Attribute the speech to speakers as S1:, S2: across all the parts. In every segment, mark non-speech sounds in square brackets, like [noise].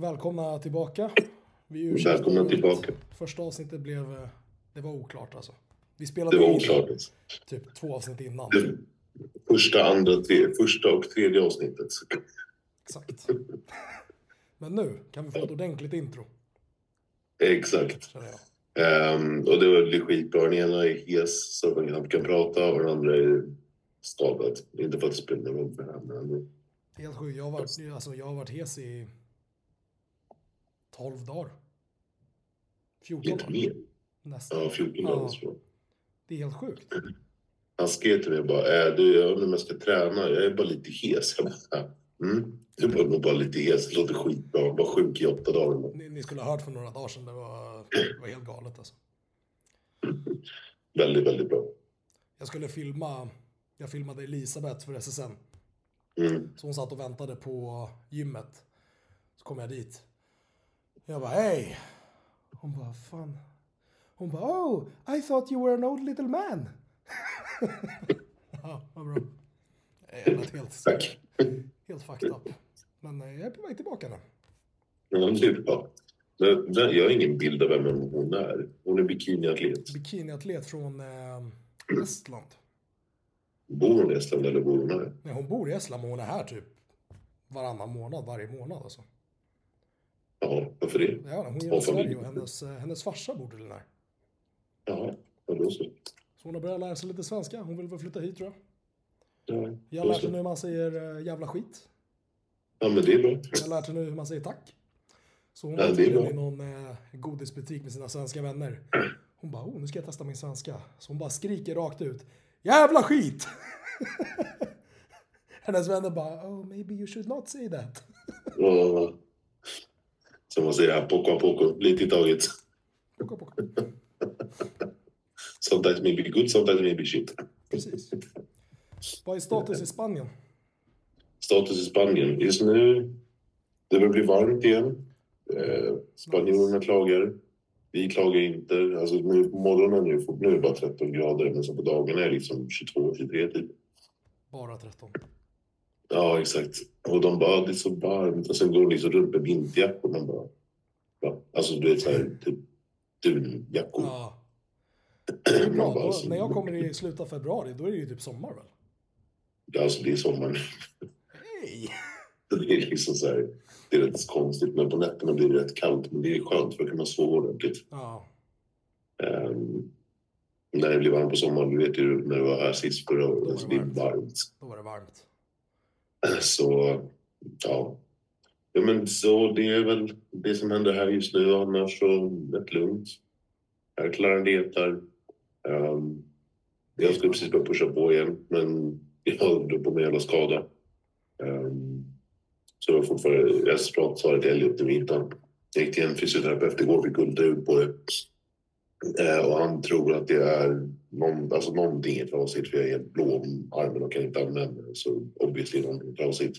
S1: Välkomna tillbaka. Vi ursäktar
S2: Välkomna
S1: att
S2: tillbaka.
S1: Första avsnittet blev... eh, Det var oklart alltså. Vi spelade
S2: Det var
S1: in
S2: oklart. alltså.
S1: typ två avsnitt innan.
S2: Det första, andra, tre, första och tredje avsnittet.
S1: Exakt. [laughs] Men nu kan vi få ett ordentligt intro,
S2: Exakt.
S1: känner jag.
S2: Ehm, och det var det skitbra. Den ena är hes så att man knappt kan prata och den andra är skadad. Inte för att det spelar någon roll för henne. men-
S1: Helt sjukt. Jag, har varit- alltså, jag har varit hes i 12 dagar. 14
S2: Lite
S1: dagar.
S2: mer.
S1: Nästan.
S2: Ja, 14
S1: Ja.
S2: dagar. Ja.
S1: Det är helt sjukt.
S2: Han skrev till mig bara, äh, du jag undrar om jag ska träna, jag är bara lite hes. Jag bara, mm. Du bara, "Men bara lite hes, det låter skitbra. Jag var bara sjuk i åtta dagar.
S1: Ni, ni skulle ha hört för några dagar sedan. Det var, det var helt galet alltså.
S2: Väldigt, väldigt bra.
S1: Jag skulle filma... Jag filmade Elisabeth för SSN.
S2: Mm.
S1: Så hon satt och väntade på gymmet. Så kom jag dit. Jag bara hej. Hon bara fan. Hon bara oh I thought you were an old little man. [laughs] ja, vad bra. Jag lät helt,
S2: Tack.
S1: helt fucked up. Men eh, jag är på väg tillbaka nu.
S2: Ja, det är bra. Men, men jag har ingen bild av vem hon är. Hon är bikiniatlet.
S1: Bikiniatlet från eh, Estland.
S2: Bor hon i Estland eller bor hon här?
S1: Nej, hon bor i Estland men hon är här typ varannan månad, varje månad alltså.
S2: Ja, varför det?
S1: Ja, hon är
S2: Och
S1: i Sverige
S2: familj.
S1: och hennes, eh, hennes farsa bor tydligen här.
S2: Ja, ja, då så.
S1: Så hon har börjat lära sig lite svenska. Hon vill väl flytta hit tror jag.
S2: Ja,
S1: Jag har
S2: då
S1: lärt
S2: så.
S1: henne hur man säger eh, jävla skit.
S2: ja, men det är bra.
S1: Jag har lärt henne hur man säger tack. Så hon
S2: Ja,
S1: var
S2: det är
S1: tydligen
S2: bra.
S1: i någon eh, godisbutik med sina svenska vänner. Hon bara, oh, nu ska jag testa min svenska. Så hon bara skriker rakt ut, jävla skit! [laughs] Hennes vänner bara, oh, maybe you should not say that.
S2: Ja. Som man säger här, poco a poco, lite i taget.
S1: Poka, poka.
S2: Sometimes maybe good, sometimes maybe shit.
S1: Precis. Vad är status i Spanien?
S2: Status i Spanien. Just nu, det börjar bli varmt igen. Eh, Spanjorerna klagar. Vi klagar inte. Alltså nu på morgonen nu, får- nu är det bara 13 grader, men så på dagarna är det liksom 22-23 typ.
S1: Bara 13.
S2: Ja, exakt. Och de bara, det är så varmt. Och sen går de liksom runt med vinterjackor. Man bara, ja. Alltså du vet så här, typ dunjackor.
S1: Ja. Det
S2: [clears throat]
S1: är
S2: Man
S1: bra.
S2: bara,
S1: Då,
S2: alltså,
S1: när jag kommer i slutet av februari, då är det ju typ sommar väl?
S2: Ja, alltså det är sommar. [laughs]
S1: Hej!
S2: Det är liksom så här, det är rätt konstigt. Men på nätterna blir det rätt kallt. Men det är skönt för då kan man sova ordentligt.
S1: Ja,
S2: Ehm, när det blir varmt på sommaren, du vet ju när det var här sist förra året, alltså det är varmt.
S1: då var det varmt.
S2: Så, ja. ja men så det är väl det som händer här just nu. Annars så rätt lugnt. Jag klarar dietar. Um, jag skulle precis börja pusha på igen, men [laughs] jag drog på mig en jävla skada. Ehm, så jag har fortfarande... Jag pratade sa det till Elliot i vintern. Jag gick till en fysioterapeut igår, fick ultraljud på det. Eh, och han tror att det är någon, alltså någonting är trasigt för jag är helt blå om armen och kan inte använda den. Så obviously någonting är trasigt.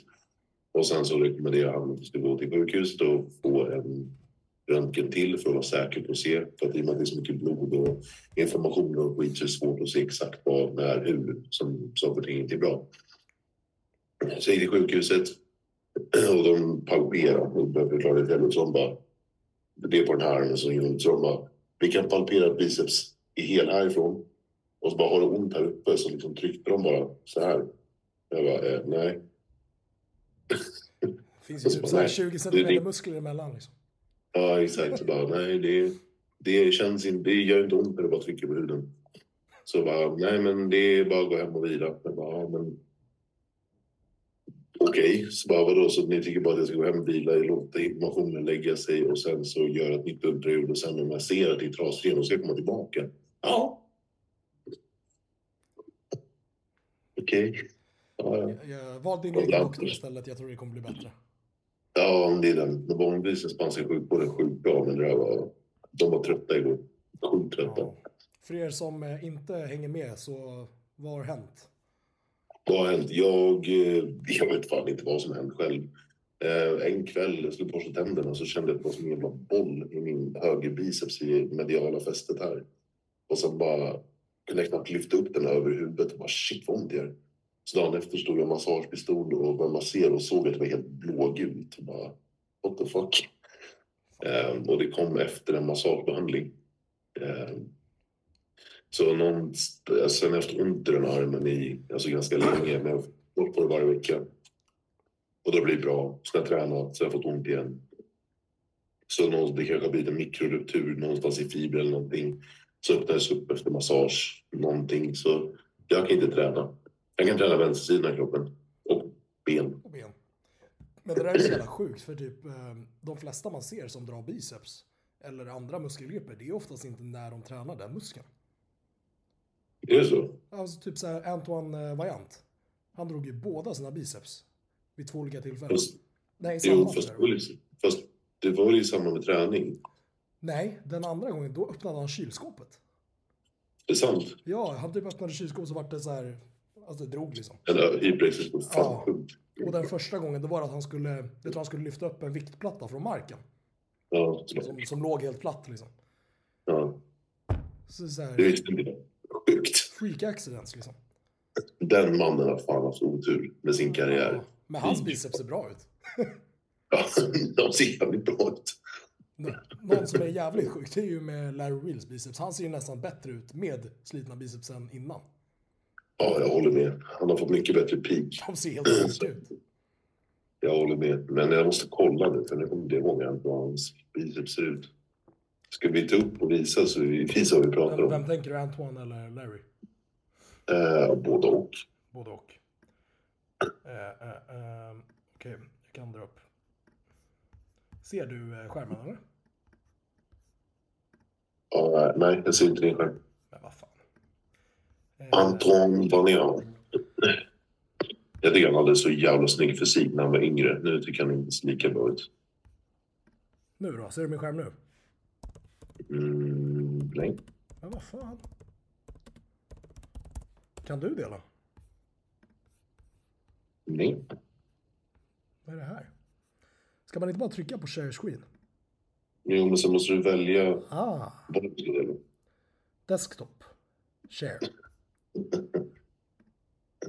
S2: Och sen så rekommenderar han att vi ska gå till sjukhuset och få en röntgen till för att vara säker på att se. För att i och med att det är så mycket blod och information och skit så är det svårt att se exakt vad, när, hur som saker och ting inte är bra. Så jag gick till sjukhuset och de palperade och började förklara det till mig. Så de bara, det är på den här armen som gör ont. Så de bara, vi kan palpera biceps i hela härifrån. Och så bara, har du ont här uppe? Så liksom tryckte de bara så här. Jag bara, eh, nej.
S1: Det finns ju typ så här 20 centimeter muskler emellan liksom.
S2: Ja, exakt. Så bara, nej, det, det känns inte, det gör inte ont när du bara trycker på huden. Så bara, nej men det är bara att gå hem och vila. Jag bara, ja, men... Okej, så bara vadå, så ni tycker bara att jag ska gå hem och vila, låta informationen lägga sig och sen så göra ett nytt ultraljud och sen om jag ser att det är trasigt igen, då ska jag komma tillbaka. Ja. Okej. Ja, ja.
S1: Jag, jag var din egen doktor istället. Jag tror det kommer bli bättre.
S2: Ja, men det är den. Men vanligtvis är spanska sjukvården sjukt bra, men det där var... De var trötta igår. Sjukt trötta.
S1: Ja. För er som eh, inte hänger med, så vad har hänt?
S2: Vad har hänt? Jag, eh, jag vet fan inte vad som hänt själv. Eh, En kväll, jag skulle borsta tänderna, så kände jag att det var som en jävla boll i min högerbiceps i mediala fästet här. Och sen bara kunde jag knappt lyfta upp den över huvudet och bara shit vad ont det gör. Så dagen efter stod jag med massagepistol och började massera och såg att det var helt blågult. Och bara, what the fuck? Ehm, och det kom efter en massagebehandling. Ehm, så någon, alltså, sen efter ont i den armen i alltså ganska länge, men jag har gått på det varje vecka. Och det blir bra. Sen har jag tränat, sen har jag fått ont igen. Så någon, det kanske har blivit en mikroruptur någonstans i fiber eller någonting. Så öppnades upp efter massage, någonting. Så jag kan inte träna. Jag kan träna vänstersidan av kroppen och ben.
S1: Och ben. Men det där är så jävla sjukt för typ eh, de flesta man ser som drar biceps eller andra muskelgrupper, det är oftast inte när de tränar den muskeln.
S2: Är det så?
S1: Alltså typ så här Antoine eh, Vaillant. Han drog ju båda sina biceps vid två olika tillfällen.
S2: Fast,
S1: Nej,
S2: jo,
S1: samma
S2: fast,
S1: tillfälle.
S2: fast det var ju i samband med träning.
S1: Nej, den andra gången då öppnade han kylskåpet.
S2: Det är sant.
S1: Ja, han typ öppnade kylskåpet så vart det så här, alltså det drog liksom.
S2: Eller hyperexis var fan
S1: Ja.
S2: sjukt.
S1: Och den första gången det var att han skulle, jag tror han skulle lyfta upp en viktplatta från marken.
S2: Ja, så-
S1: Som, som låg helt platt liksom.
S2: ja,
S1: Så, så
S2: det
S1: här,
S2: visste inte jag. Sjukt.
S1: freak accidents liksom.
S2: Den mannen har fan haft otur med sin karriär.
S1: Men hans biceps ser bra ut.
S2: Ja, [laughs] de ser jävligt bra ut.
S1: Nå- Någon som är jävligt sjuk, det är ju med Larry Wills biceps. Han ser ju nästan bättre ut med slitna biceps än innan.
S2: Ja, jag håller med. Han har fått mycket bättre peak.
S1: De ser helt sjuka ut.
S2: Jag håller med. Men jag måste kolla nu, för nu kommer det många hur hans biceps ser ut. Ska vi ta upp och visa så vi visar vad vi pratar
S1: Vem,
S2: om?
S1: vem tänker du, Antoine eller Larry?
S2: Eh, både och.
S1: Både och. Eh, eh, eh, Okej, jag kan dra upp. Ser du eh, skärmen eller?
S2: Ja, nej, jag ser inte din skärm.
S1: Men vad fan. Eh,
S2: Anton Vanian. Jag tycker han hade så jävla snygg fysik när han var yngre. Nu tycker han inte ser lika bra ut.
S1: Nu då, ser du min skärm nu?
S2: Mm, nej.
S1: Men vad fan. Kan du dela?
S2: Nej.
S1: Vad är det här? Ska man inte bara trycka på share screen?
S2: Jo, men sen måste du välja
S1: Ah,
S2: vad du ska välja.
S1: desktop. Share.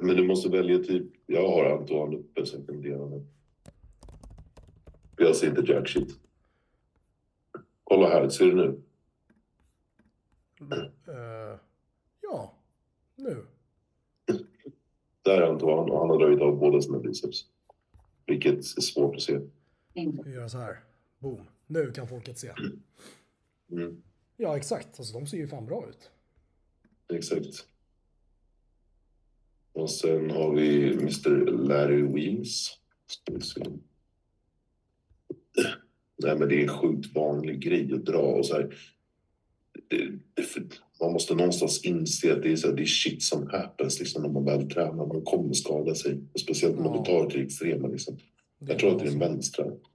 S2: Men du måste välja typ... Jag har Antoine uppe så jag kan dela den. Jag ser inte jack shit. Kolla här, ser du nu?
S1: Eh, ja, nu.
S2: Där är Antoine och han har dragit av båda sina biceps. Vilket är svårt att se.
S1: Vi gör så här. Boom. Nu kan folket se.
S2: Mm,
S1: Ja, exakt. Alltså, de ser ju fan bra ut.
S2: exakt. Och sen har vi Mr Larry Weems. Ska vi se. Nej, men det är en sjukt vanlig grej att dra och så här. Det, det, för- man måste någonstans inse att det är, så här, det är shit som happens liksom, när man väl tränar. Man kommer skada sig. Och speciellt när
S1: Ja.
S2: man tar till extrema. Liksom.
S1: Det
S2: Jag tror att
S1: fan
S2: det är den
S1: alltså-
S2: vänstra.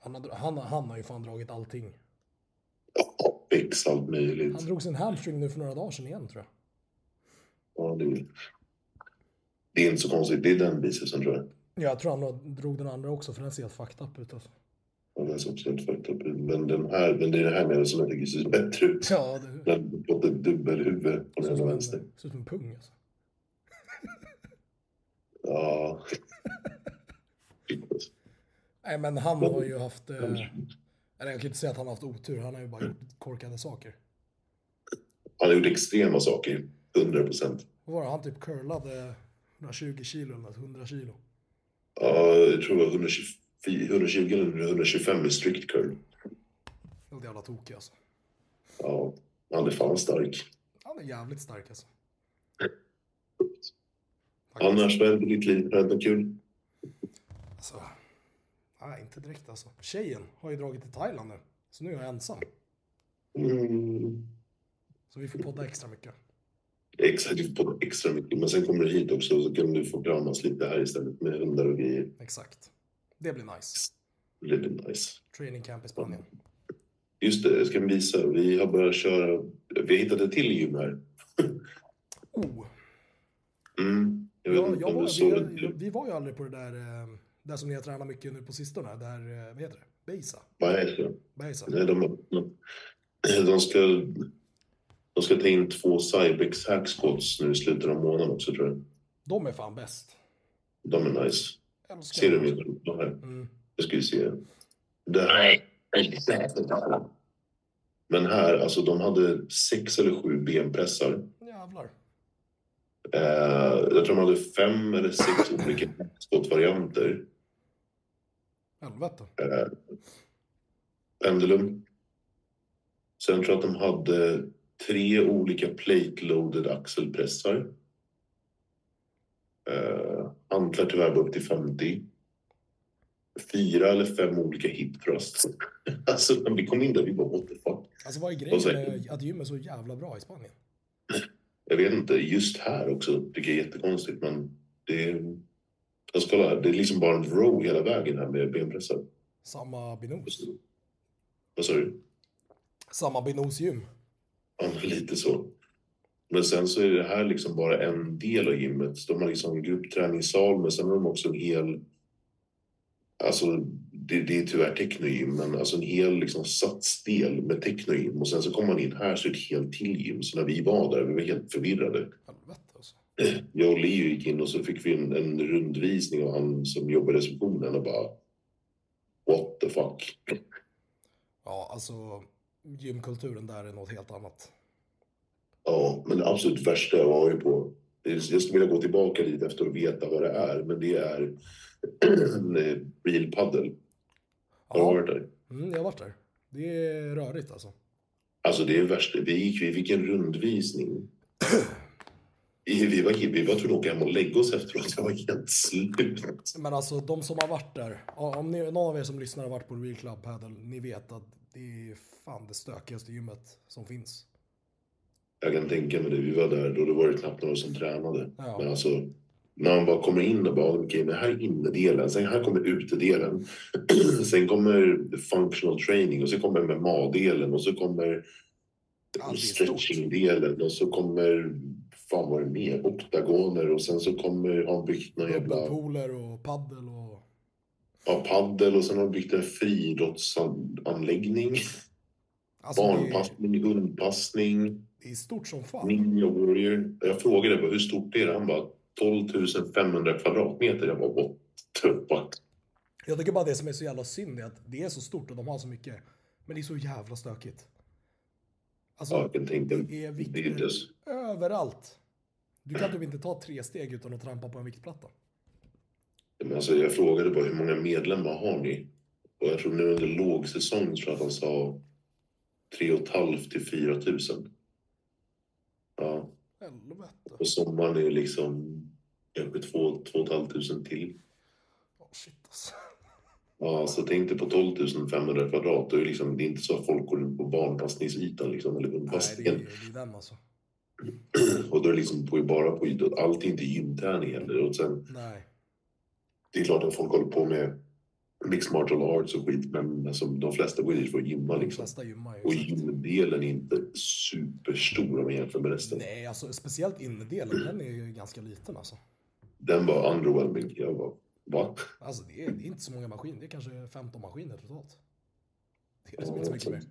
S1: han, har- han, har- han har ju fan dragit allting.
S2: Ja, X, allt möjligt.
S1: Han drog sin hamstring nu för några dagar sedan igen, tror jag.
S2: Ja, det, det är inte så konstigt. Det är den bicepsen tror jag.
S1: Jag tror han har- drog den andra också, för den ser helt fucked up ut. Alltså.
S2: Ja, Den ser också helt fucked up ut. Men, den här, men det är den här med som jag tycker ser bättre ut.
S1: Ja, det
S2: Den har fått ett dubbelhuvud på
S1: ser
S2: den
S1: ut
S2: ena
S1: som en-
S2: vänster.
S1: ser ut som en pung. Alltså.
S2: Ja. alltså.
S1: Nej, men han har ju haft... Eh, eller jag kan inte säga att han har haft otur. Han har ju bara gjort korkade saker.
S2: Han har gjort extrema saker. 100 procent.
S1: Vad var det? Han typ curlade 120 kilo eller något, 100 kilo.
S2: Ja, jag tror det var 120, 120 eller 125 i strict curl.
S1: Helt jävla tokig alltså.
S2: Ja, han är fan stark.
S1: Han är jävligt stark alltså. Faktiskt.
S2: Annars, vad händer i ditt liv? Har det hänt något kul?
S1: Alltså, nej, inte direkt alltså. Tjejen har ju dragit till Thailand nu. Så nu är jag ensam.
S2: Mm.
S1: Så vi får podda extra mycket.
S2: Exakt, du får typ extra mycket. Men sen kommer du hit också och så kan du få kramas lite här istället med hundar och grejer.
S1: Exakt. Det blir nice.
S2: Det blir nice.
S1: Training camp i Spanien.
S2: Just det, jag ska visa. Vi har börjat köra... Vi har hittat ett till gym här.
S1: Oh,
S2: Mm. Jag vet
S1: ja,
S2: inte
S1: jag
S2: om du
S1: var,
S2: såg
S1: vi,
S2: det.
S1: vi var ju aldrig på det där, eh, där som ni har tränat mycket nu på sistone. Där, eh, vad heter det? Beisa.
S2: Nej, så-
S1: Beisa.
S2: nej, de, de, ska, de ska ta in två Cybex hacksquats nu i slutet av månaden också, tror jag.
S1: De är fan bäst.
S2: De är nice.
S1: Älskar
S2: Ser du
S1: dem.
S2: min? De här.
S1: Mm.
S2: Jag ska vi se. Det här, men här, alltså de hade sex eller sju benpressar.
S1: Jävlar.
S2: Eh, jag tror de hade fem eller sex olika skottvarianter.
S1: Helvete.
S2: Eh, pendulum. Sen tror jag att de hade tre olika plate-loaded axelpressar. Eh, hantlar till värme upp till 50. Fyra eller fem olika hip thrusts. [laughs] alltså när vi kom in där, vi bara what the fuck.
S1: Alltså vad är grejen
S2: Och sen-
S1: med att gym är så jävla bra i Spanien?
S2: Jag vet inte, just här också tycker jag är jättekonstigt men det är... Jag ska kolla här, det är liksom bara en row hela vägen här med benpressar.
S1: Samma binos.
S2: Vad sa du?
S1: Samma binosgym.
S2: Ja, men [laughs] lite så. Men sen så är det här liksom bara en del av gymmet. Så De har liksom en gruppträningssal, men sen har de också en hel... Alltså, det, det är tyvärr technogym, men alltså en hel liksom satsdel med technogym. Och sen så kommer man in här så är det ett helt till gym. Så när vi var där, vi var helt förvirrade.
S1: Helvete alltså.
S2: Jag och Leo gick in och så fick vi en, en rundvisning av han som jobbar i receptionen och bara... What the fuck?
S1: Ja, alltså gymkulturen där är något helt annat.
S2: Ja, men det absolut värsta jag varit på. Jag skulle vilja gå tillbaka dit efter och veta vad det är, men det är [clears throat] en eh, bilpaddel.
S1: Ja,
S2: Har du varit där?
S1: mm, jag har varit där. Det är rörigt alltså.
S2: Alltså det är värst. Vi gick, vi fick en rundvisning. I- Vi var, vi var tvungna att åka hem och lägga oss efteråt. Jag var helt slut.
S1: Men alltså de som har varit där, ja, om ni, någon av er som lyssnar har varit på Real Club Paddle, ni vet att det är fan det stökigaste gymmet som finns.
S2: Jag kan tänka mig det. Vi var där och det var det knappt några som tränade.
S1: Ja.
S2: Men alltså, när man bara kommer in och bara, okej, men här är innedelen, sen här kommer utedelen, [clears throat] sen kommer functional training och så kommer MMA-delen och så kommer
S1: Ja, det är stort.
S2: stretching-delen och så kommer, fan vad är det mer, oktagoner och sen så kommer, har de byggt någon jävla,
S1: Bubbelpooler och paddel och...
S2: ja, paddel och sen har de byggt en friidrottsanläggning,
S1: Alltså det är,
S2: barnpassning, hundpassning.
S1: det är stort som fan.
S2: Ninja Warrior. Jag frågade bara, hur stort är det? Han bara 12 500 kvadratmeter. Jag bara what the fuck?
S1: Jag tycker bara det som är så jävla synd är att det är så stort och de har så mycket. Men det är så jävla stökigt. Alltså,
S2: Ja, jag kan tänka mig.
S1: det är
S2: Det är
S1: vikter
S2: inte så-
S1: överallt. Du kan typ inte ta tre steg utan att trampa på en viktplatta.
S2: Men alltså, jag frågade bara hur många medlemmar har ni? Och jag tror nu under lågsäsong tror jag att han sa 3 500 till 4 000. Ja,
S1: Helvete.
S2: och sommaren är liksom kanske 2 500 till.
S1: Oh, shit alltså.
S2: Ja, så tänk dig på 12 500 kvadrat. Då är det liksom, det är inte så att folk går ut på barnpassningsytan liksom, eller
S1: Nej, det är,
S2: hundpassningen.
S1: det är den alltså.
S2: [clears throat] Och då är det liksom på, bara på idrott. Allt är inte gymträning heller. Och sen,
S1: Nej.
S2: det är klart att folk håller på med mixed martial arts och skit, men alltså, de flesta går ju dit för att gymma.
S1: De
S2: Liksom.
S1: flesta gymmar ju.
S2: Och
S1: exakt.
S2: gymdelen är inte superstor om man jämför med resten.
S1: Nej, alltså speciellt innerdelen, den är ju ganska liten alltså.
S2: Den var underwhelming. Jag bara, va?
S1: Alltså det är, det är inte så många maskiner, det är kanske 15 maskiner totalt. Det är liksom inte så mycket mer.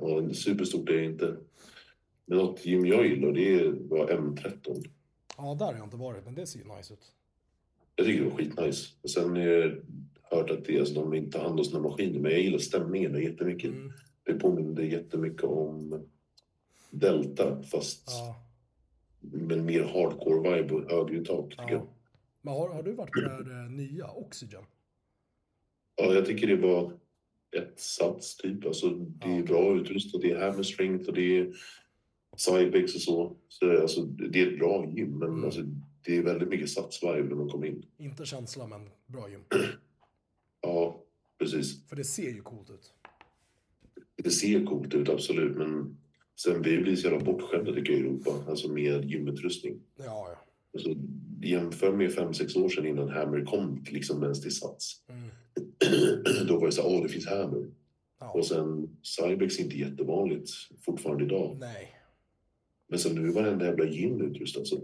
S2: alltså. Ja, superstort är det inte. Men något gym jag gillar, det var M13.
S1: Ja, där har jag inte varit, men det ser ju nice ut.
S2: Jag tycker det var skitnice. Och sen har jag hört att det, alltså, de inte hand om sina maskiner, men jag gillar stämningen där jättemycket.
S1: Mm,
S2: Det påminner jättemycket om Delta fast
S1: ja,
S2: med mer hardcore vibe och högre tak. tycker
S1: ja.
S2: jag.
S1: Men har, har du varit på det här eh, nya Oxygen?
S2: Ja, jag tycker det var ett sats typ. Alltså, det är
S1: Ja.
S2: bra utrustat, det är hammerstrength och det är cybex och så. så alltså, det är ett bra gym men
S1: Mm.
S2: alltså, det är väldigt mycket sats-vibe när man kommer in.
S1: Inte känsla, men bra gym.
S2: Ja, precis.
S1: För det ser ju coolt ut.
S2: Det ser coolt ut absolut men sen vi blir så jävla bortskämda tycker jag i Europa, alltså med gymutrustning.
S1: Ja, ja.
S2: Alltså, jämför med fem sex år sedan innan Hammer kom liksom ens till Sats. [clears throat]
S1: Mm,
S2: Då var det så här, åh det finns Hammer.
S1: ja.
S2: Och sen Cybex är inte jättevanligt fortfarande idag.
S1: Nej.
S2: Men sen nu är varenda jävla gym utrustad så.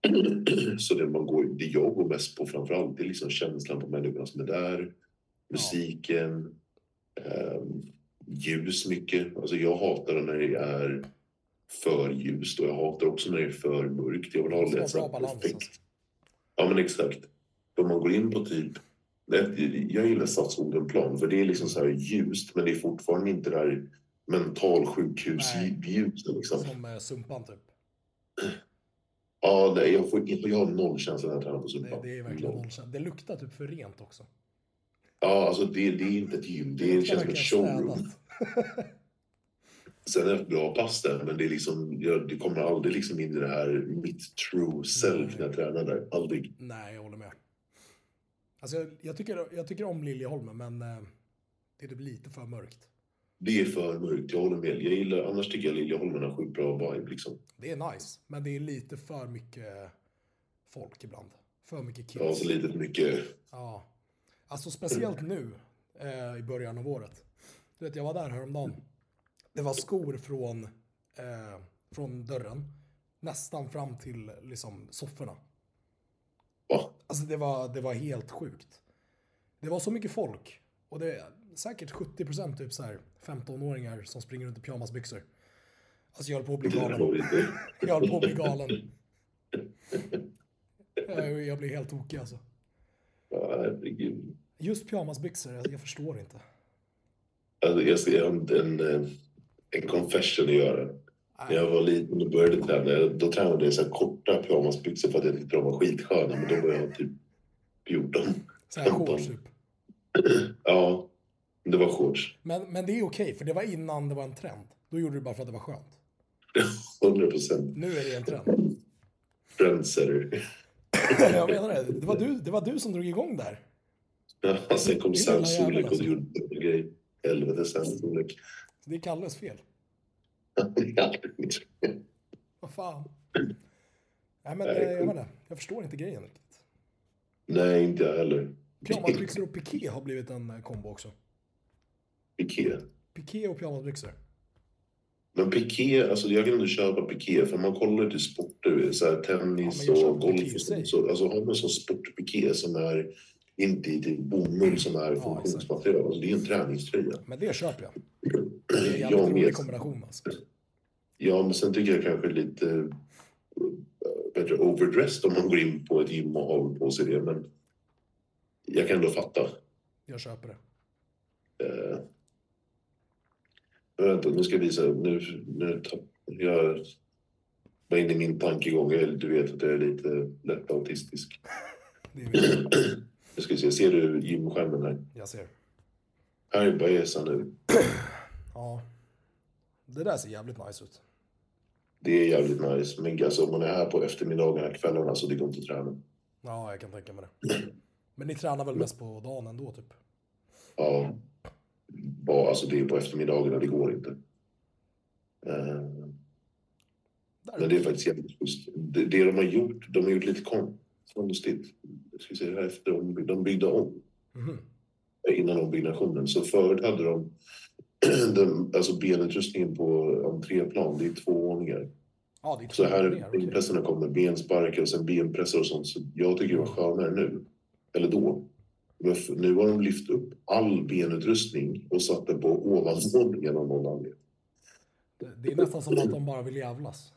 S2: [clears throat] så det, man går, det jag går mest på framförallt det är liksom känslan på människorna som är där. Musiken. ehm, ljus mycket. Alltså jag hatar det när det är för ljust och jag hatar också när det är för mörkt. Jag vill ha
S1: Det
S2: det
S1: ska
S2: så
S1: vara
S2: här
S1: bra balans.
S2: perfekt.
S1: Alltså.
S2: Ja, men exakt. Om man går in på typ Nej, Jag gillar stadsorden plan för det är liksom så här ljust men det är fortfarande inte det här mentalsjukhusljuset. Liksom.
S1: Som eh, Sumpan typ.
S2: Ja, nej, jag, får, jag har noll känsla när jag tränar på
S1: Det,
S2: Zumba.
S1: det är verkligen
S2: Noll.
S1: nollkänsla. Det luktar typ för rent också.
S2: Ja, alltså det, det är inte ett gym, det känns som ett showroom.
S1: städat.
S2: Sen är det ett bra pass där, men det, är liksom, jag, det kommer aldrig liksom in i det här mitt true self när jag tränar där. Aldrig.
S1: Nej, jag håller med. Alltså, jag, jag, tycker, jag tycker om Liljeholmen, men eh, det är typ lite för mörkt.
S2: Det är för mörkt, jag håller med. Jag gillar, annars tycker jag Liljeholmen har sjukt bra vibe. Liksom.
S1: Det är nice, men det är lite för mycket folk ibland. För mycket kids.
S2: Ja, så lite för mycket...
S1: Ja. Alltså speciellt nu eh, i början av året. Du vet, jag var där häromdagen. Det var skor från, eh, från dörren nästan fram till liksom, sofforna.
S2: Va?
S1: Alltså det var, det var helt sjukt. Det var så mycket folk. Och det är säkert 70% typ så här 15-åringar som springer runt i pyjamasbyxor. Alltså jag höll på att bli
S2: Det
S1: galen.
S2: var lite.
S1: Jag höll på att bli galen. Jag, jag blir helt tokig alltså.
S2: Ja, herregud.
S1: Just pyjamasbyxor, jag, jag förstår inte.
S2: Alltså, jag ska jag har en, en, eh, en confession att göra. När
S1: Nej.
S2: jag var liten och började träna, då tränade jag i så här korta pyjamasbyxor för att jag tyckte de var skitsköna. Men då var jag typ 14.
S1: Så här shorts typ.
S2: [laughs] Ja, det var shorts.
S1: Men, men det är okej, för det var innan det var en trend. Då gjorde du bara för att det var skönt.
S2: 100 procent.
S1: Nu är det en trend.
S2: Trendsetter.
S1: Jag menar det. Det var du, det var du som drog igång där.
S2: [laughs] Ja, sen kom
S1: Det är
S2: Sam
S1: jävla jävla
S2: Solek och
S1: alltså.
S2: gjorde en grej. Helvete Sam Solek. [laughs]
S1: Det är Kalles fel.
S2: Ja, mitt-
S1: Vad fan. Nej men
S2: Nej,
S1: eh, jag
S2: cool.
S1: menar, jag förstår inte grejen riktigt.
S2: Nej, inte jag heller.
S1: Pyjamasbyxor och piké har blivit en eh, kombo också.
S2: Piké.
S1: Piké och pyjamasbyxor.
S2: Men piké, alltså jag kan inte köpa piké för man kollar till sporter, så här tennis
S1: Ja, men jag
S2: och
S1: köper
S2: golf.
S1: piké i
S2: Och sånt.
S1: sig.
S2: så, alltså har man sån sportpiké som är inte i typ bomull som är
S1: Ja,
S2: funktionsmaterial. Alltså, det är en träningströja.
S1: Men det köper jag. Det är en jävligt
S2: Jag
S1: rolig
S2: med.
S1: kombination alltså.
S2: Ja, men sen tycker jag kanske lite eh, bättre overdressed om man går in på ett gym och har på sig det. Men jag kan ändå fatta.
S1: Jag köper det.
S2: Eh, men vänta, nu ska jag visa. Nu, nu tapp, jag var inne i min tankegång. Jag- Du vet att jag är lite lätt autistisk. [clears throat]
S1: Det är viktigt.
S2: Nu ska vi se. Ser du gymskärmen här?
S1: Jag ser.
S2: Här är Baeza nu.
S1: Ja. Det där ser jävligt nice ut.
S2: Det är jävligt nice. Men alltså, om man är här på eftermiddagarna, kvällarna, så det går inte att träna.
S1: Ja, jag kan tänka mig det. Men ni tränar väl mest på dagen ändå typ?
S2: Ja, bara, alltså det är på eftermiddagarna, det går inte. Eh,
S1: Där.
S2: Men det är faktiskt jävligt schysst. Det, det de har gjort, de har gjort lite kon- konstigt. Jag ska säga det här efter, de, de byggde om
S1: Mhm.
S2: eh, innan ombyggnationen. Så förut hade de [clears throat] den, alltså benutrustningen på entréplan, det är två våningar.
S1: Ja, det är
S2: Så
S1: två
S2: här,
S1: gånger, okej.
S2: benpressarna kom med bensparkar och sen benpressar och sånt. Så jag tycker det var skönare nu. Eller då. Men f- nu har de lyft upp all benutrustning och satt den på ovanvåningen av någon anledning.
S1: Det- Det är nästan som att de bara vill jävlas.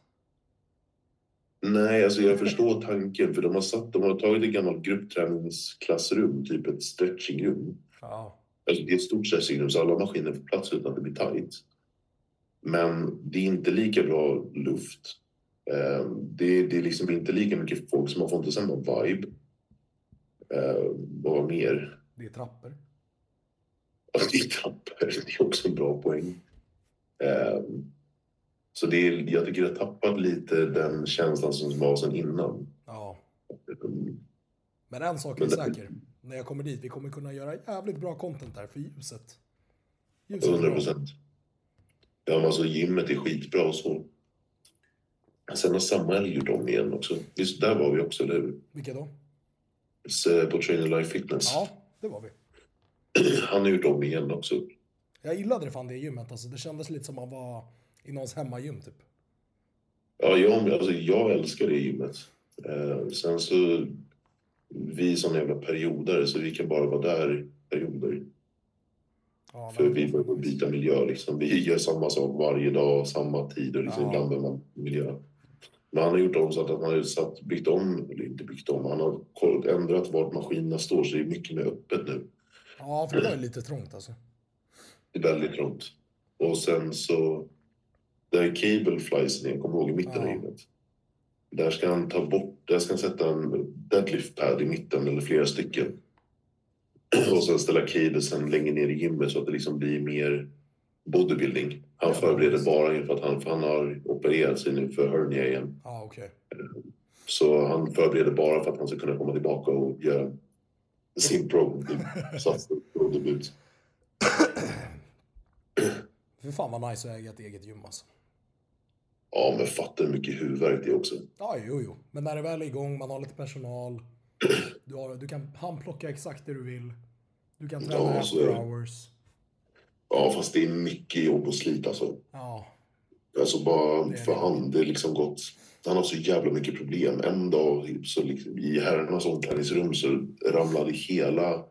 S2: Nej, alltså jag förstår tanken. För de har, satt, de har tagit ett gammalt gruppträningsklassrum, typ ett stretchingrum.
S1: Ja.
S2: Alltså det är ett stort stretchingrum så alla maskiner får plats utan att det blir tajt. Men det är inte lika bra luft. Eh, Det är, det är liksom inte lika mycket folk som man får inte samma vibe. Eh, Vad mer?
S1: Det är trappor.
S2: Alltså det är trappor, det är också en bra poäng. Eh, Så det är, jag tycker det har tappat lite den känslan som var sen innan.
S1: Ja.
S2: Eh,
S1: Men en sak är säker. När jag kommer dit, vi kommer kunna göra jävligt bra content där för ljuset. Ljuset är
S2: 100
S1: bra.
S2: procent. Ja, men alltså gymmet är skitbra och så. Sen har Samuel gjort om igen också. Visst, där var vi också, eller hur?
S1: Vilka då?
S2: Så, På Trainer Life Fitness.
S1: Ja, det var vi.
S2: [clears throat] Han har gjort om igen också.
S1: Jag gillade det fan det gymmet alltså. Det kändes lite som att man var i någons hemmagym typ.
S2: Ja, jag, alltså, jag älskar det gymmet. Eh, sen så... Vi är såna jävla perioder så vi kan bara vara där i perioder.
S1: Ja,
S2: För
S1: men-
S2: vi behöver byta miljö. Liksom. Vi gör samma sak varje dag, samma tid och liksom
S1: Ja.
S2: ibland behöver man miljö. Men han har gjort om så att han har satt, byggt om, eller inte byggt om, han har koll- ändrat vart maskinerna står så det är mycket mer öppet nu.
S1: Ja, för det var ju lite trångt alltså.
S2: Det är väldigt trångt. Och sen så, där cable flies ner, kommer ihåg i mitten av
S1: Ja.
S2: hjulet. Där ska han ta bort, där ska han sätta en deadlift pad i mitten eller flera stycken. [clears throat] Och sen ställa cablesen längre ner i gymmet så att det liksom blir mer bodybuilding. Han
S1: Ja,
S2: förbereder
S1: precis.
S2: bara inför att han, för han har opererat sig nu för hernia igen.
S1: Ja, okej. [clears throat]
S2: Så han förbereder bara för att han ska kunna komma tillbaka och göra sin
S1: [laughs]
S2: pro-satsning. pro-debut.
S1: Fy fan vad nice att äga ett eget gym alltså.
S2: Ja, men fatta hur mycket huvudvärk det är också.
S1: Ja, jo, jo. Men när det väl är igång, man har lite personal. [clears throat] Du, har, du kan handplocka exakt det du vill. Du kan träna
S2: Ja, så är
S1: after
S2: det.
S1: hours.
S2: Ja, fast det är mycket jobb och slit alltså.
S1: Ja,
S2: Alltså bara
S1: Det är
S2: för
S1: det.
S2: han, det är liksom gått... Han har så jävla mycket problem. En dag så liksom, i herrarnas omklädningsrum så ramlade hela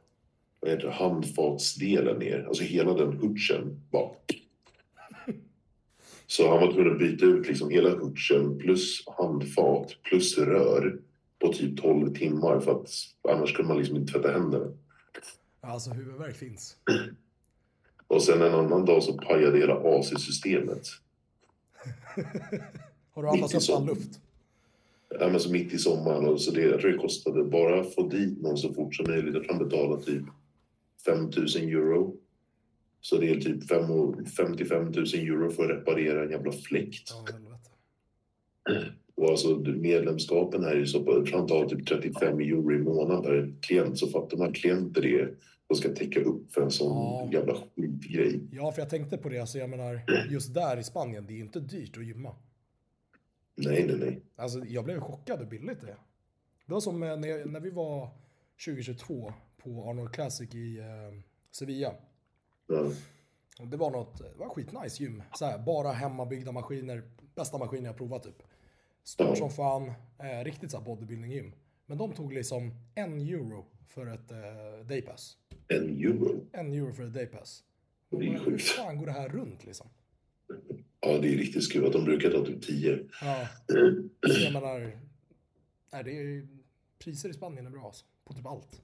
S2: vad heter det, handfatsdelen ner. Alltså hela den hutchen bara... Så han var tvungen att byta ut liksom hela hutchen plus handfat plus rör på typ 12 timmar för att annars kunde man liksom inte tvätta händerna.
S1: alltså huvudvärk finns.
S2: Och sen en annan dag så pajade hela AC-systemet.
S1: Har du andats upp
S2: Mycket
S1: all
S2: sånt.
S1: luft?
S2: Ja, men så mitt i sommaren. Och så det, jag tror det kostade bara att få dit någon så fort som möjligt. Jag tror han betalade typ 5 000 euro. Så det är typ fem och- 55 000 euro för att reparera en jävla fläkt.
S1: Ja, helvete.
S2: Och alltså du, medlemskapen här är ju så... Jag tror han tar typ 35 euro i månaden per klient. Så fattar man klienter det är som ska täcka upp för en sån
S1: Ja.
S2: jävla skitgrej.
S1: Ja, för jag tänkte på det. Alltså, jag menar, just där i Spanien, det är ju inte dyrt att gymma.
S2: Nej, nej, nej.
S1: Alltså, jag blev chockad hur billigt det är. Det var som eh, när, när vi var 2022 på Arnold Classic i eh, Sevilla.
S2: Ja.
S1: Och Det var något, det var skitnice gym. Så här, bara hemmabyggda maskiner, bästa maskiner jag provat typ. Stort som fan, eh, riktigt så här bodybuilding gym. Men de tog liksom en euro för ett eh, daypass.
S2: En euro.
S1: En euro för ett daypass.
S2: Det är ju
S1: Hur
S2: sjukt.
S1: fan går det här runt liksom?
S2: Ja, det är riktigt skruvat. De brukar ta typ 10.
S1: [clears throat] Ja, så jag menar, nej, det är, priser i Spanien är bra alltså. På typ allt.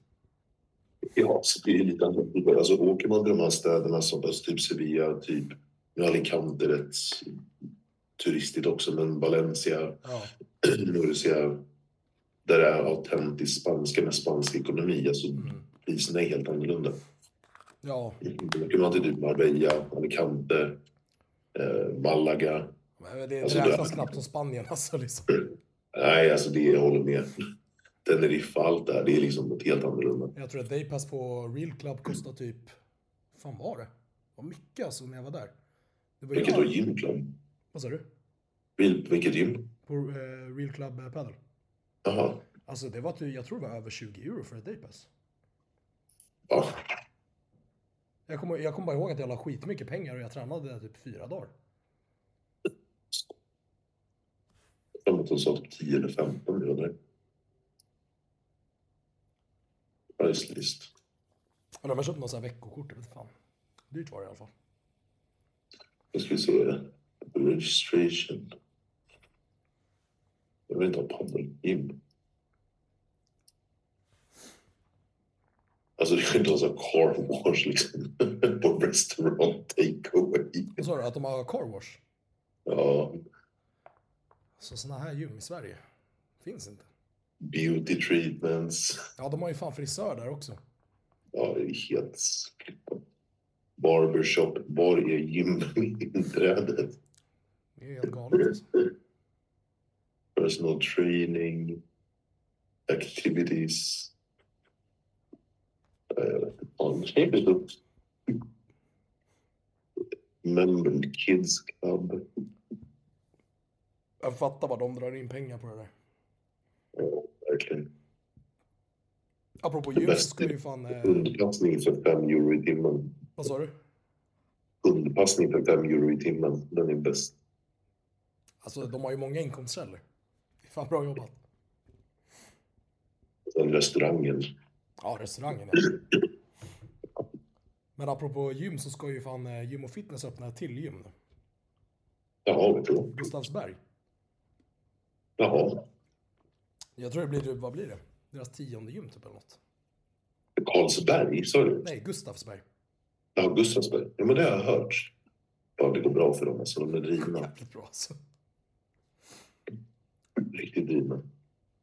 S2: Ja, så det är lite annorlunda. Alltså, åker man till de här städerna som alltså, typ Sevilla, typ nu är Alicante rätt turistigt också, men Valencia, [clears throat]
S1: Ja,
S2: Murcia, där det är autentisk spanska med spansk ekonomi, alltså
S1: mm.
S2: priserna är helt annorlunda.
S1: ja
S2: Åker man till typ Marbella, Alicante, eh, Malaga.
S1: men det
S2: Alltså,
S1: räknas
S2: det-
S1: knappt som Spanien [laughs] alltså. Liksom.
S2: Nej, alltså det jag håller med. [laughs] Teneriffa, allt det här, det är liksom något helt annorlunda.
S1: Jag tror att daypass på Real Club kostar typ... fan var det? Det var mycket alltså när jag var där. Det var ju
S2: Vilket då
S1: allt.
S2: gymklubb?
S1: Vad sa du?
S2: Vilket gym?
S1: På eh, Real Club eh, Padel.
S2: Jaha.
S1: Alltså det var typ, jag tror det var över 20 euro för ett daypass.
S2: Ja,
S1: Jag kommer jag kommer bara ihåg att jag la skitmycket pengar och jag tränade där typ fyra dagar.
S2: Jag tror att de sa typ 10 eller 15 miljoner. Price list.
S1: Eller man köpte något sånt här veckokort, jag vet fan. Dyrt var det i alla fall.
S2: Nu ska vi se. Registration. Jag vill inte ha paddel. Gym. Alltså det kan inte vara så här car wash liksom. [laughs] På restaurang takeaway.
S1: Vad sa du? Att de har carwash?
S2: Ja.
S1: Så Alltså, såna här gym i Sverige finns inte.
S2: Beauty treatments.
S1: Ja, de har ju fan frisör där också.
S2: Ja, det är helt flippat. Barbershop. Var är gyminträdet?
S1: Det är helt galet alltså.
S2: personal training, activities. Uh, on [laughs] member kids club.
S1: Jag fattar vad de drar in pengar på det där.
S2: Ja, verkligen.
S1: Apropå gym så ska vi ju fan... Eh,
S2: Hundpassning för 5 euro i timmen.
S1: vad sa du?
S2: Hundpassning för 5 euro i timmen. Den är bäst.
S1: Alltså de har ju många inkomstkällor. Det är fan bra jobbat.
S2: Den restaurangen.
S1: Ja, restaurangen ja. Men apropå gym så ska ju fan eh, Gym och Fitness öppna ett till gym nu.
S2: Ja, vet du vad?
S1: Gustavsberg.
S2: Jaha.
S1: Jag tror det blir, typ- vad blir det? Deras tionde gym typ eller något.
S2: Karlsberg, sa du?
S1: Nej, Gustavsberg.
S2: Ja, Gustavsberg. Ja, men det har jag hört. Ja, det går bra för dem. Alltså, de är drivna.
S1: Jävligt bra alltså.
S2: Riktigt drivna.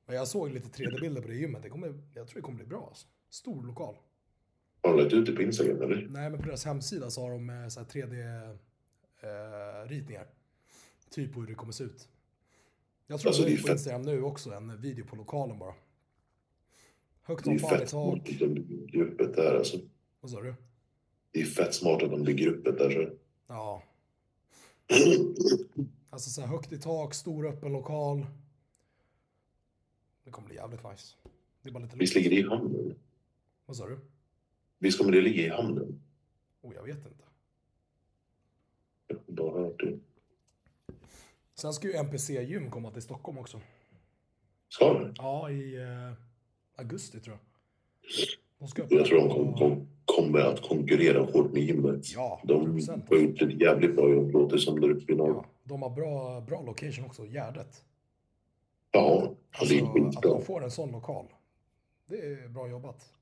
S1: Men jag såg lite 3D-bilder på det gymmet. Det kommer, jag tror det kommer bli bra alltså. Stor lokal.
S2: Har de lagt ut det på Instagram, eller?
S1: Nej, men på deras hemsida så har de 3D-ritningar. eh, typ hur det kommer se ut. Jag tror
S2: Alltså,
S1: att
S2: det
S1: det
S2: är
S1: är på
S2: fett.
S1: Instagram nu också, en video på lokalen bara. Högt
S2: Det är
S1: som fan i
S2: fett
S1: tak.
S2: smart att de bygger upp ett där. Alltså.
S1: Vad sa du?
S2: Det är fett smart att de bygger upp ett där. Så. [clears throat]
S1: Ja, alltså så här högt i tak, stor öppen lokal. Det kommer bli jävligt nice. Det är bara lite
S2: Visst
S1: lugnt.
S2: ligger det i hamnen?
S1: Vad sa du?
S2: Visst kommer det ligga i hamnen?
S1: Oh, jag vet inte.
S2: Jag har bara hört det.
S1: Sen ska ju NPC-gym komma till Stockholm också.
S2: Ska det?
S1: Ja, i eh, augusti tror jag. De ska öppna
S2: Jag tror de
S1: på-
S2: kom, kom, kommer att konkurrera hårt med gymmet.
S1: Ja,
S2: De
S1: 100%.
S2: har gjort ett jävligt bra jobb, låter som där uppe i norr.
S1: Ja, de har bra, bra location också, Gärdet.
S2: Ja, alltså, det är
S1: Alltså, att
S2: skitbra.
S1: de får en sån lokal. Det är bra jobbat.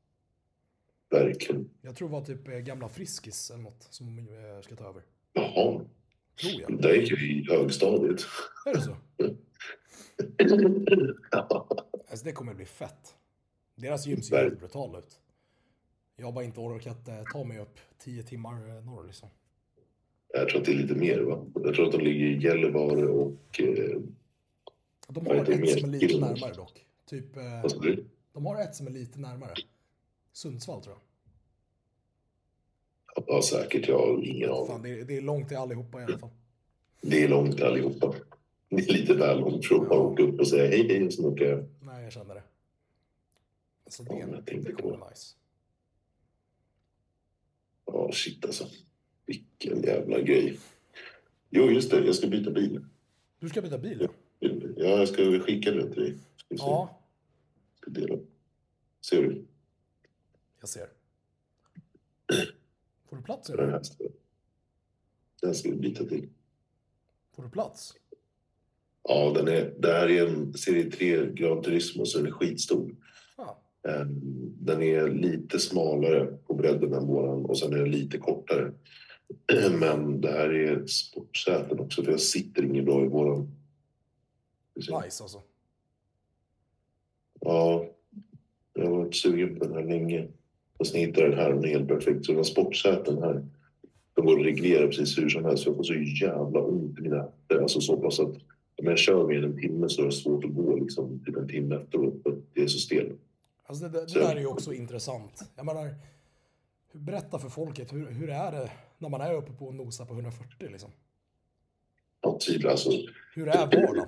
S2: Verkligen.
S1: Jag tror det var typ eh, gamla Friskis eller något som eh, ska ta över.
S2: Jaha,
S1: Tror jag.
S2: där gick vi i högstadiet. [laughs]
S1: Är det så?
S2: Ja,
S1: Alltså det kommer bli fett. Deras gym ser helt brutala ut. Jag har bara inte orkat eh, ta mig upp 10 timmar eh, norr liksom.
S2: jag tror att det är lite mer, va? Jag tror att de ligger i Gällivare och... Eh,
S1: De
S2: Vad
S1: har
S2: heter det mer? liksom.
S1: ett som är lite
S2: Kiruna?
S1: närmare dock. Typ, eh,
S2: vad sa du?
S1: de har ett som är lite närmare. Sundsvall tror jag.
S2: Ja, säkert. Jag har ingen aning.
S1: Fan, det, är, det är långt till allihopa i alla fall.
S2: Det är långt allihopa. Det är lite väl långt för att bara åka upp och säga hej, hej och sen åka hem.
S1: Nej, jag känner det. Alltså
S2: Ja,
S1: det,
S2: men jag tänkte
S1: det kommer
S2: på
S1: bli nice.
S2: Ja, shit alltså. Vilken jävla grej. Jo, just det. Jag ska byta bil.
S1: Du ska byta bil? Ja.
S2: Ja, jag ska skicka den till dig. Ska vi se.
S1: ja,
S2: Ska dela. Ser du?
S1: jag ser. [clears throat] Får du plats?
S2: Den
S1: Eller?
S2: här ska Den ska vi byta till.
S1: Får du plats?
S2: Ja, den är, det här är en serie 3 Gran Turismo, så den är skitstor.
S1: Ja,
S2: Eh, Den är lite smalare på bredden än våran och sen är den lite kortare. [clears throat] Men det här är sportsäten också, för jag sitter inget bra i våran. Ska vi se.
S1: nice alltså.
S2: Ja, jag har varit sugen på den här länge. Och sen hittade jag den här och den är helt perfekt. Så den här sportsäten här, de går att reglera precis hur som helst. Jag får så jävla ont i mina händer. Alltså så pass att om jag kör mer än en timme så är det svårt att gå liksom till en timme efteråt. för att Det är så stelt.
S1: Alltså det, det
S2: Så-
S1: där är ju också intressant. Jag menar, hur- berätta för folket, hur, hur är det när man är uppe på och nosar på 140 liksom?
S2: Ja, tydligt. Alltså,
S1: Hur är vardagen?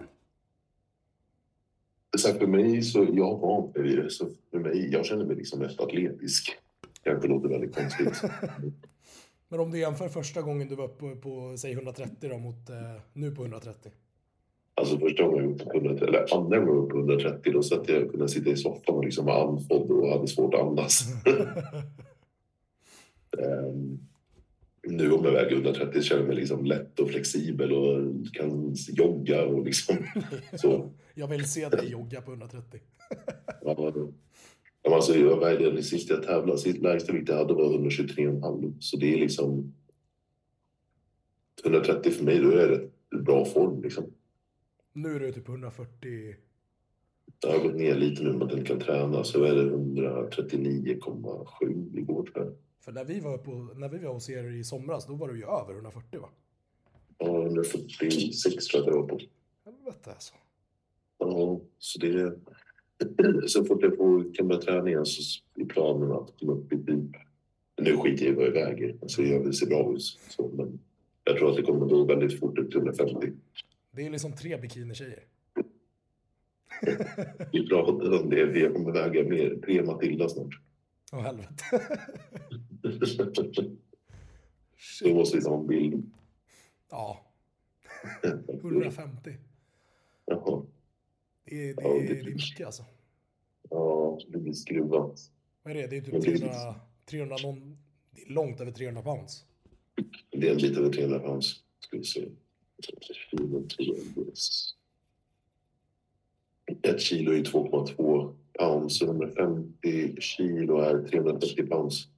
S2: så här, för mig så, jag har vant mig vid det. Så för mig, jag känner mig liksom mest atletisk. Kanske låter väldigt konstigt.
S1: Men om du jämför första gången du var uppe på, på säg 130 då mot eh, nu på 130.
S2: Alltså första gången jag var uppe på 130, eller andra gången jag var uppe på 130, då satt jag och kunde sitta i soffan och liksom var andfådd och hade svårt att andas. Ehm, nu om jag väger 130 känner jag mig liksom lätt och flexibel och kan jogga och liksom så.
S1: [laughs] Jag vill se dig jogga på 130.
S2: Ja, men alltså, jag vägde det sist jag tävlade, sist lägsta vikt jag hade var 123,5 så det är liksom 130 för mig, då är det rätt bra form liksom.
S1: Nu är du typ 140.
S2: Jag har gått ner lite nu med att jag inte kan träna, så jag är 139,7 igår tror jag.
S1: För när vi var, på, när vi var hos er i somras, då var du ju över 140 va?
S2: Ja, 146 tror jag att jag var på.
S1: Helvete alltså.
S2: Ja, så det är... [clears throat] Så fort jag får, kan börja träna igen så är planen att komma upp i typ... Nu skiter jag i vad jag väger, alltså jag vill se bra ut. Så, men jag tror att det kommer gå väldigt fort upp till 150.
S1: Det är liksom tre bikinitjejer.
S2: Vi pratade [laughs] om det, vi kommer väga mer, tre Matilda snart. [laughs]
S1: Åh helvete.
S2: Då
S1: Shit.
S2: måste vi ta en bild.
S1: Ja,
S2: [laughs]
S1: 150.
S2: Jaha.
S1: Det är, det
S2: Ja, det
S1: är,
S2: är
S1: det är
S2: typ-
S1: mycket alltså.
S2: Ja, det blir skruvat.
S1: Vad är det? Det är
S2: Men
S1: typ
S2: det är-
S1: 300, 300 någon, det är långt över 300 pounds.
S2: Det är en bit över 300 pounds. Ska vi se. 34, 300. Ett kilo är 2,2 pounds. 150 kilo är 340 pounds.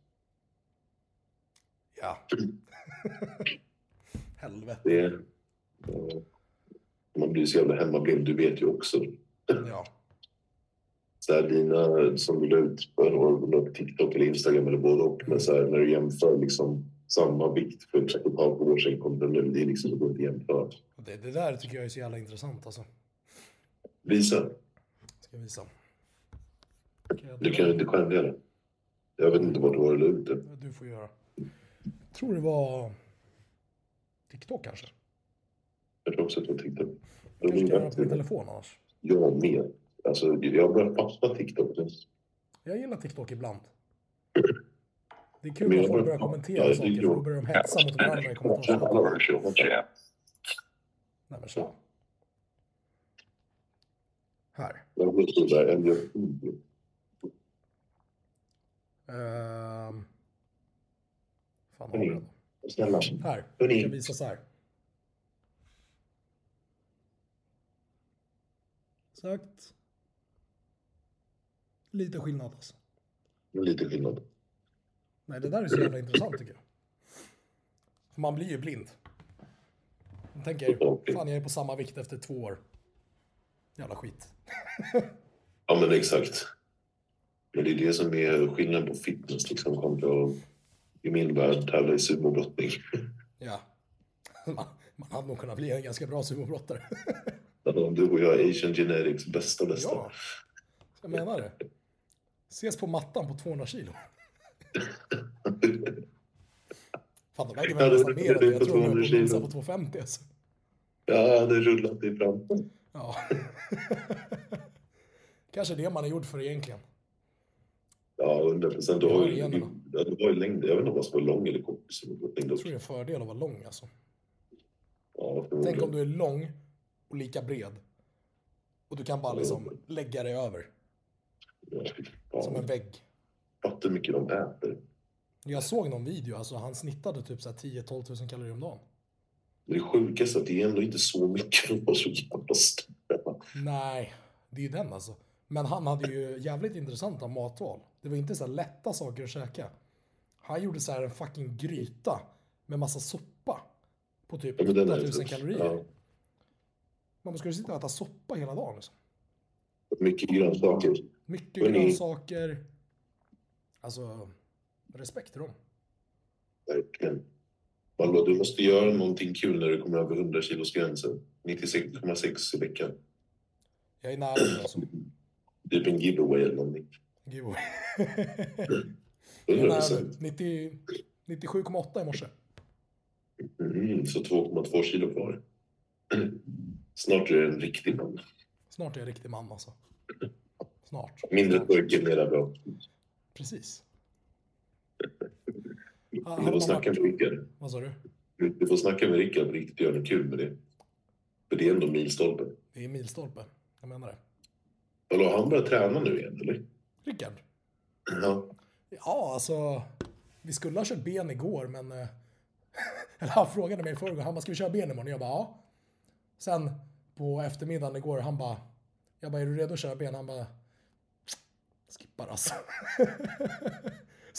S1: Ja. Helvete.
S2: Det är, eh, man blir så jävla hemmablind, du vet ju också.
S1: Ja.
S2: Så här, dina som vill ut på TikTok eller Instagram eller både och. Men så här, när du jämför liksom samma vikt för ett och ett halvt år sedan kontra nu, det är liksom det går inte att jämföra.
S1: Och Det, det där tycker jag är så jävla intressant alltså.
S2: Visa.
S1: Ska jag visa. Kan jag
S2: Du
S1: dra-
S2: kan ju inte själv göra det. Jag vet inte vart du har det ute.
S1: Du får göra. Jag tror det var TikTok kanske.
S2: Jag tror också att jag TikTok.
S1: Jag kanske kan göra det på min telefon annars.
S2: Jag med. Alltså, jag börjar fastna TikTok nu.
S1: Jag gillar TikTok ibland. Det är
S2: Men
S1: kul
S2: jag
S1: att folk
S2: börjar-
S1: börjar
S2: Ja,
S1: kommentera
S2: det
S1: saker,
S2: är
S1: för då
S2: ju-
S1: börjar de hetsa mot varandra i kommentarsfältet.
S2: Ja.
S1: Nej men tja. Här.
S2: Jag blir så där, jag blir-
S1: Ehm. Fan, har vi den?
S2: Snälla.
S1: Här. Jag
S2: Hörni.
S1: kan visa så här. Exakt. Lite skillnad alltså.
S2: Det är Lite skillnad.
S1: Nej, det där är så jävla intressant tycker jag. För man blir ju blind. Man tänker, fan jag är på samma vikt efter två år. Jävla skit.
S2: Ja, men exakt. Men det är det som är skillnaden på fitness liksom kontra i min värld tävla i sumobrottning.
S1: Ja. [laughs] Man, man hade nog kunnat bli en ganska bra sumobrottare.
S2: Alltså, Du och jag, Asian Genetics, bästa bästa.
S1: Ja. Jag menar det. Ses på mattan på 200 [laughs] kilo. Fan, de vägde väl nästan mer än det. Jag tror de höll på att nosa på 250 alltså.
S2: Ja, det rullat i fram.
S1: Ja. [laughs] Kanske det man är gjord för egentligen.
S2: Ja, 100 procent. Du
S1: Jag har
S2: har ju
S1: igenom
S2: du- ja, du har ju längd. Jag vet inte om man ska vara lång eller kort i sumobrottning.
S1: Jag tror det är en fördel att vara lång alltså.
S2: Ja,
S1: Tänk om
S2: förmodligen.
S1: du är lång och lika bred. Och du kan bara
S2: Mm.
S1: liksom lägga dig över.
S2: Ja, fy
S1: Som en
S2: fan.
S1: vägg.
S2: Fattar hur mycket de äter.
S1: Jag såg någon video, alltså han snittade typ så här 10-12 000 kalorier om dagen.
S2: Men det sjukaste är att det är ändå inte så mycket [laughs] de var så jävla stora.
S1: Nej, det är ju den alltså. Men han hade ju jävligt intressanta matval. Det var inte så här lätta saker att käka. Han gjorde så här en fucking gryta med massa soppa. På typ
S2: Ja, men den är
S1: 8000
S2: tuff.
S1: kalorier.
S2: Ja.
S1: Man ska ju sitta och äta soppa hela dagen liksom.
S2: Mycket grönsaker.
S1: Mycket
S2: Hörrni.
S1: grönsaker. Alltså, respekt till dem.
S2: Verkligen. Malva, du måste göra någonting kul när du kommer över 100 kilos gränsen. 96,6 i veckan.
S1: Jag är nära nu alltså.
S2: Typ en giveaway eller någonting.
S1: Giveaway.
S2: 100
S1: Jag är
S2: procent.
S1: nära. 90 97,8 i morse.
S2: Mm, så 2,2 kilo kvar. [clears throat] Snart är du en riktig man.
S1: Snart är jag riktig man alltså. Snart.
S2: Mindre
S1: Snart.
S2: pojke, mera bra.
S1: Precis.
S2: Du får snacka med Rickard.
S1: Vad sa du?
S2: Du du får snacka med Rickard på riktigt och göra något kul med det. För det är ändå milstolpen.
S1: Det är milstolpe. Jag menar det.
S2: Malva, har han börjat träna nu igen, eller?
S1: Rickard?
S2: Ja.
S1: Ja, alltså. Vi skulle ha kört ben igår, men... eh, [laughs] Eller han frågade mig i förrgår. Han bara, ska vi köra ben imorgon? Och jag bara, ja. Sen på eftermiddagen igår, han bara... Jag bara, är du redo att köra ben? Han bara... Skippar alltså. [laughs]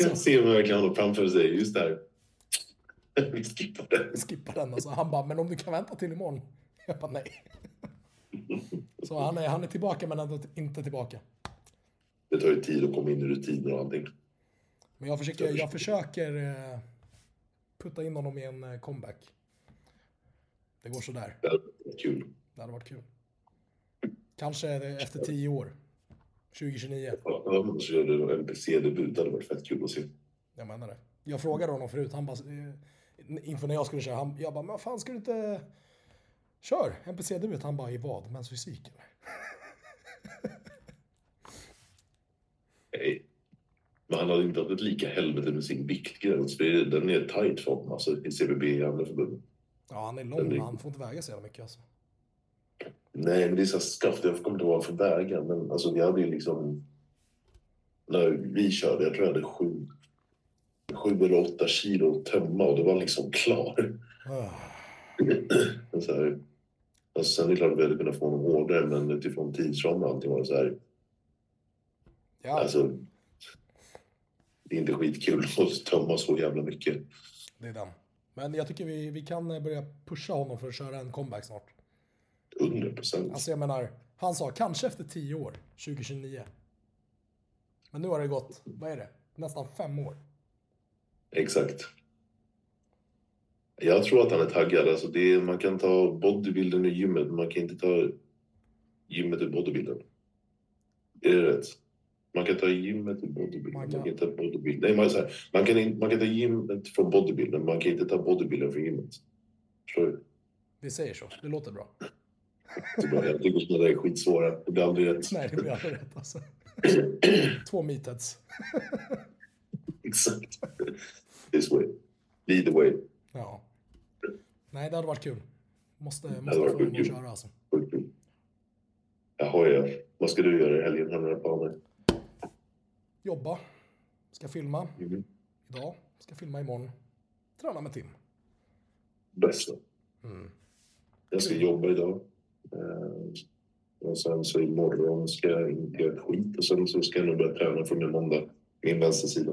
S2: Jag
S1: Så
S2: ser om jag kan hålla framför sig. Just där. [laughs] Vi skippar det.
S1: skippar den alltså. Han bara, men om du kan vänta till imorgon? Jag bara, nej. Så han är, han är tillbaka, men ändå inte tillbaka.
S2: Det tar ju tid att komma in i rutiner och allting.
S1: Men jag försöker, jag försöker eh, putta in honom i en eh, comeback. Det går sådär.
S2: Kul.
S1: Det hade varit kul. Kanske eh, efter tio år. 2029.
S2: Ja, men så gör du en NPC-debut. Det hade varit fett kul att se.
S1: Jag menar det. Jag frågade honom förut. Han bara... eh, Inför när jag skulle köra. Han, jag bara, men vad fan ska du inte... Kör! NPC-debut. Han bara, i vad? Mens fysik eller?
S2: Nej. Men han hade inte haft ett lika helvete med sin viktgräns. för det- Den är tight för honom, alltså, i CBB i andra förbund.
S1: Ja, han är lång men han får inte väga så jävla mycket alltså.
S2: Nej, men det är så här skaft. Jag kommer inte ihåg vad han för vägar, men alltså, vi hade ju liksom... När vi körde, jag tror jag hade sju, sju eller åtta kilo att tömma [clears throat] och det var liksom klar.
S1: Ah,
S2: Men så här, Alltså, sen är det klart att vi hade kunnat få honom hårdare, men utifrån tidsram och allting var det så här.
S1: Ja,
S2: Alltså, det är inte skitkul [laughs] att tömma så jävla mycket.
S1: det är den. Men jag tycker vi, vi kan eh, börja pusha honom för att köra en comeback snart.
S2: 100 procent.
S1: Alltså jag menar, han sa kanske efter 10 år, 2029. Men nu har det gått, vad är det, nästan fem år.
S2: Exakt. Jag tror att han är taggad. Alltså det är, man kan ta bodybuilden ur gymmet, men man kan inte ta gymmet ur bodybuilden. Är det rätt? Man kan ta gymmet ur bodybuilden.
S1: Man
S2: Man
S1: kan-
S2: kan, inte ta bodybuilden. Nej, man, så här, man, kan, in- man kan ta gymmet från bodybuilden, man kan inte ta bodybuilden från gymmet. Förstår du?
S1: Vi säger så, det låter bra.
S2: Det är bra. Jag tycker sådana där är skitsvåra. Det blir aldrig
S1: [laughs]
S2: rätt.
S1: Nej, det blir aldrig rätt
S2: [clears throat]
S1: alltså. Två meatheads.
S2: [laughs] Exakt. This way. Lead the way.
S1: Ja. Nej, det hade varit kul. Måste,
S2: hade
S1: måste
S2: varit
S1: få honom att
S2: kul.
S1: köra alltså.
S2: Sjukt kul. Jaha, ja. Vad ska du göra i helgen? Har du några planer?
S1: Jobba. Ska filma
S2: Mhm.
S1: idag. Ska filma imorgon. Träna med Tim.
S2: Bästa.
S1: Mm.
S2: Jag ska jobba idag. Eh, och sen så imorgon ska jag inte göra ett skit och sen så ska jag nog börja träna från min måndag. Min vänstersida.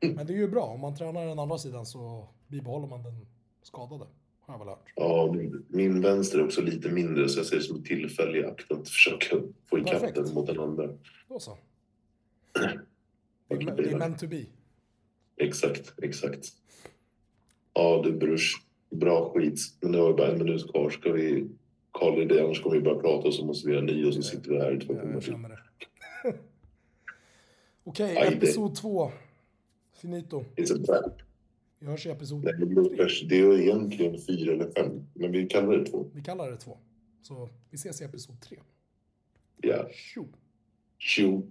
S1: Men det är ju bra. Om man tränar den andra sidan så bibehåller man den skadade. Har jag väl hört.
S2: Ja, min, min vänster är också lite mindre så jag ser det som en tillfällig akt att försöka få ikapp
S1: Perfekt.
S2: den mot den andra.
S1: Då så. Det är, det är
S2: Aktivera.
S1: meant to be.
S2: Exakt, exakt. Ja du brors, bra skit. Men nu har vi bara en minut kvar. Ska vi kalla det annars kommer vi bara prata och så måste vi göra nio och så sitter vi här i två
S1: Jag,
S2: timmar
S1: jag
S2: till.
S1: känner det. [laughs] Okej,
S2: Aj, det-
S1: episod två. Finito.
S2: It's a wrap.
S1: Vi hörs i episod
S2: Nej, men Lukas, det är egentligen fyra eller fem, men vi kallar det två.
S1: Vi kallar det två. Så vi ses i episod tre.
S2: Ja,
S1: Tjo!
S2: tjo.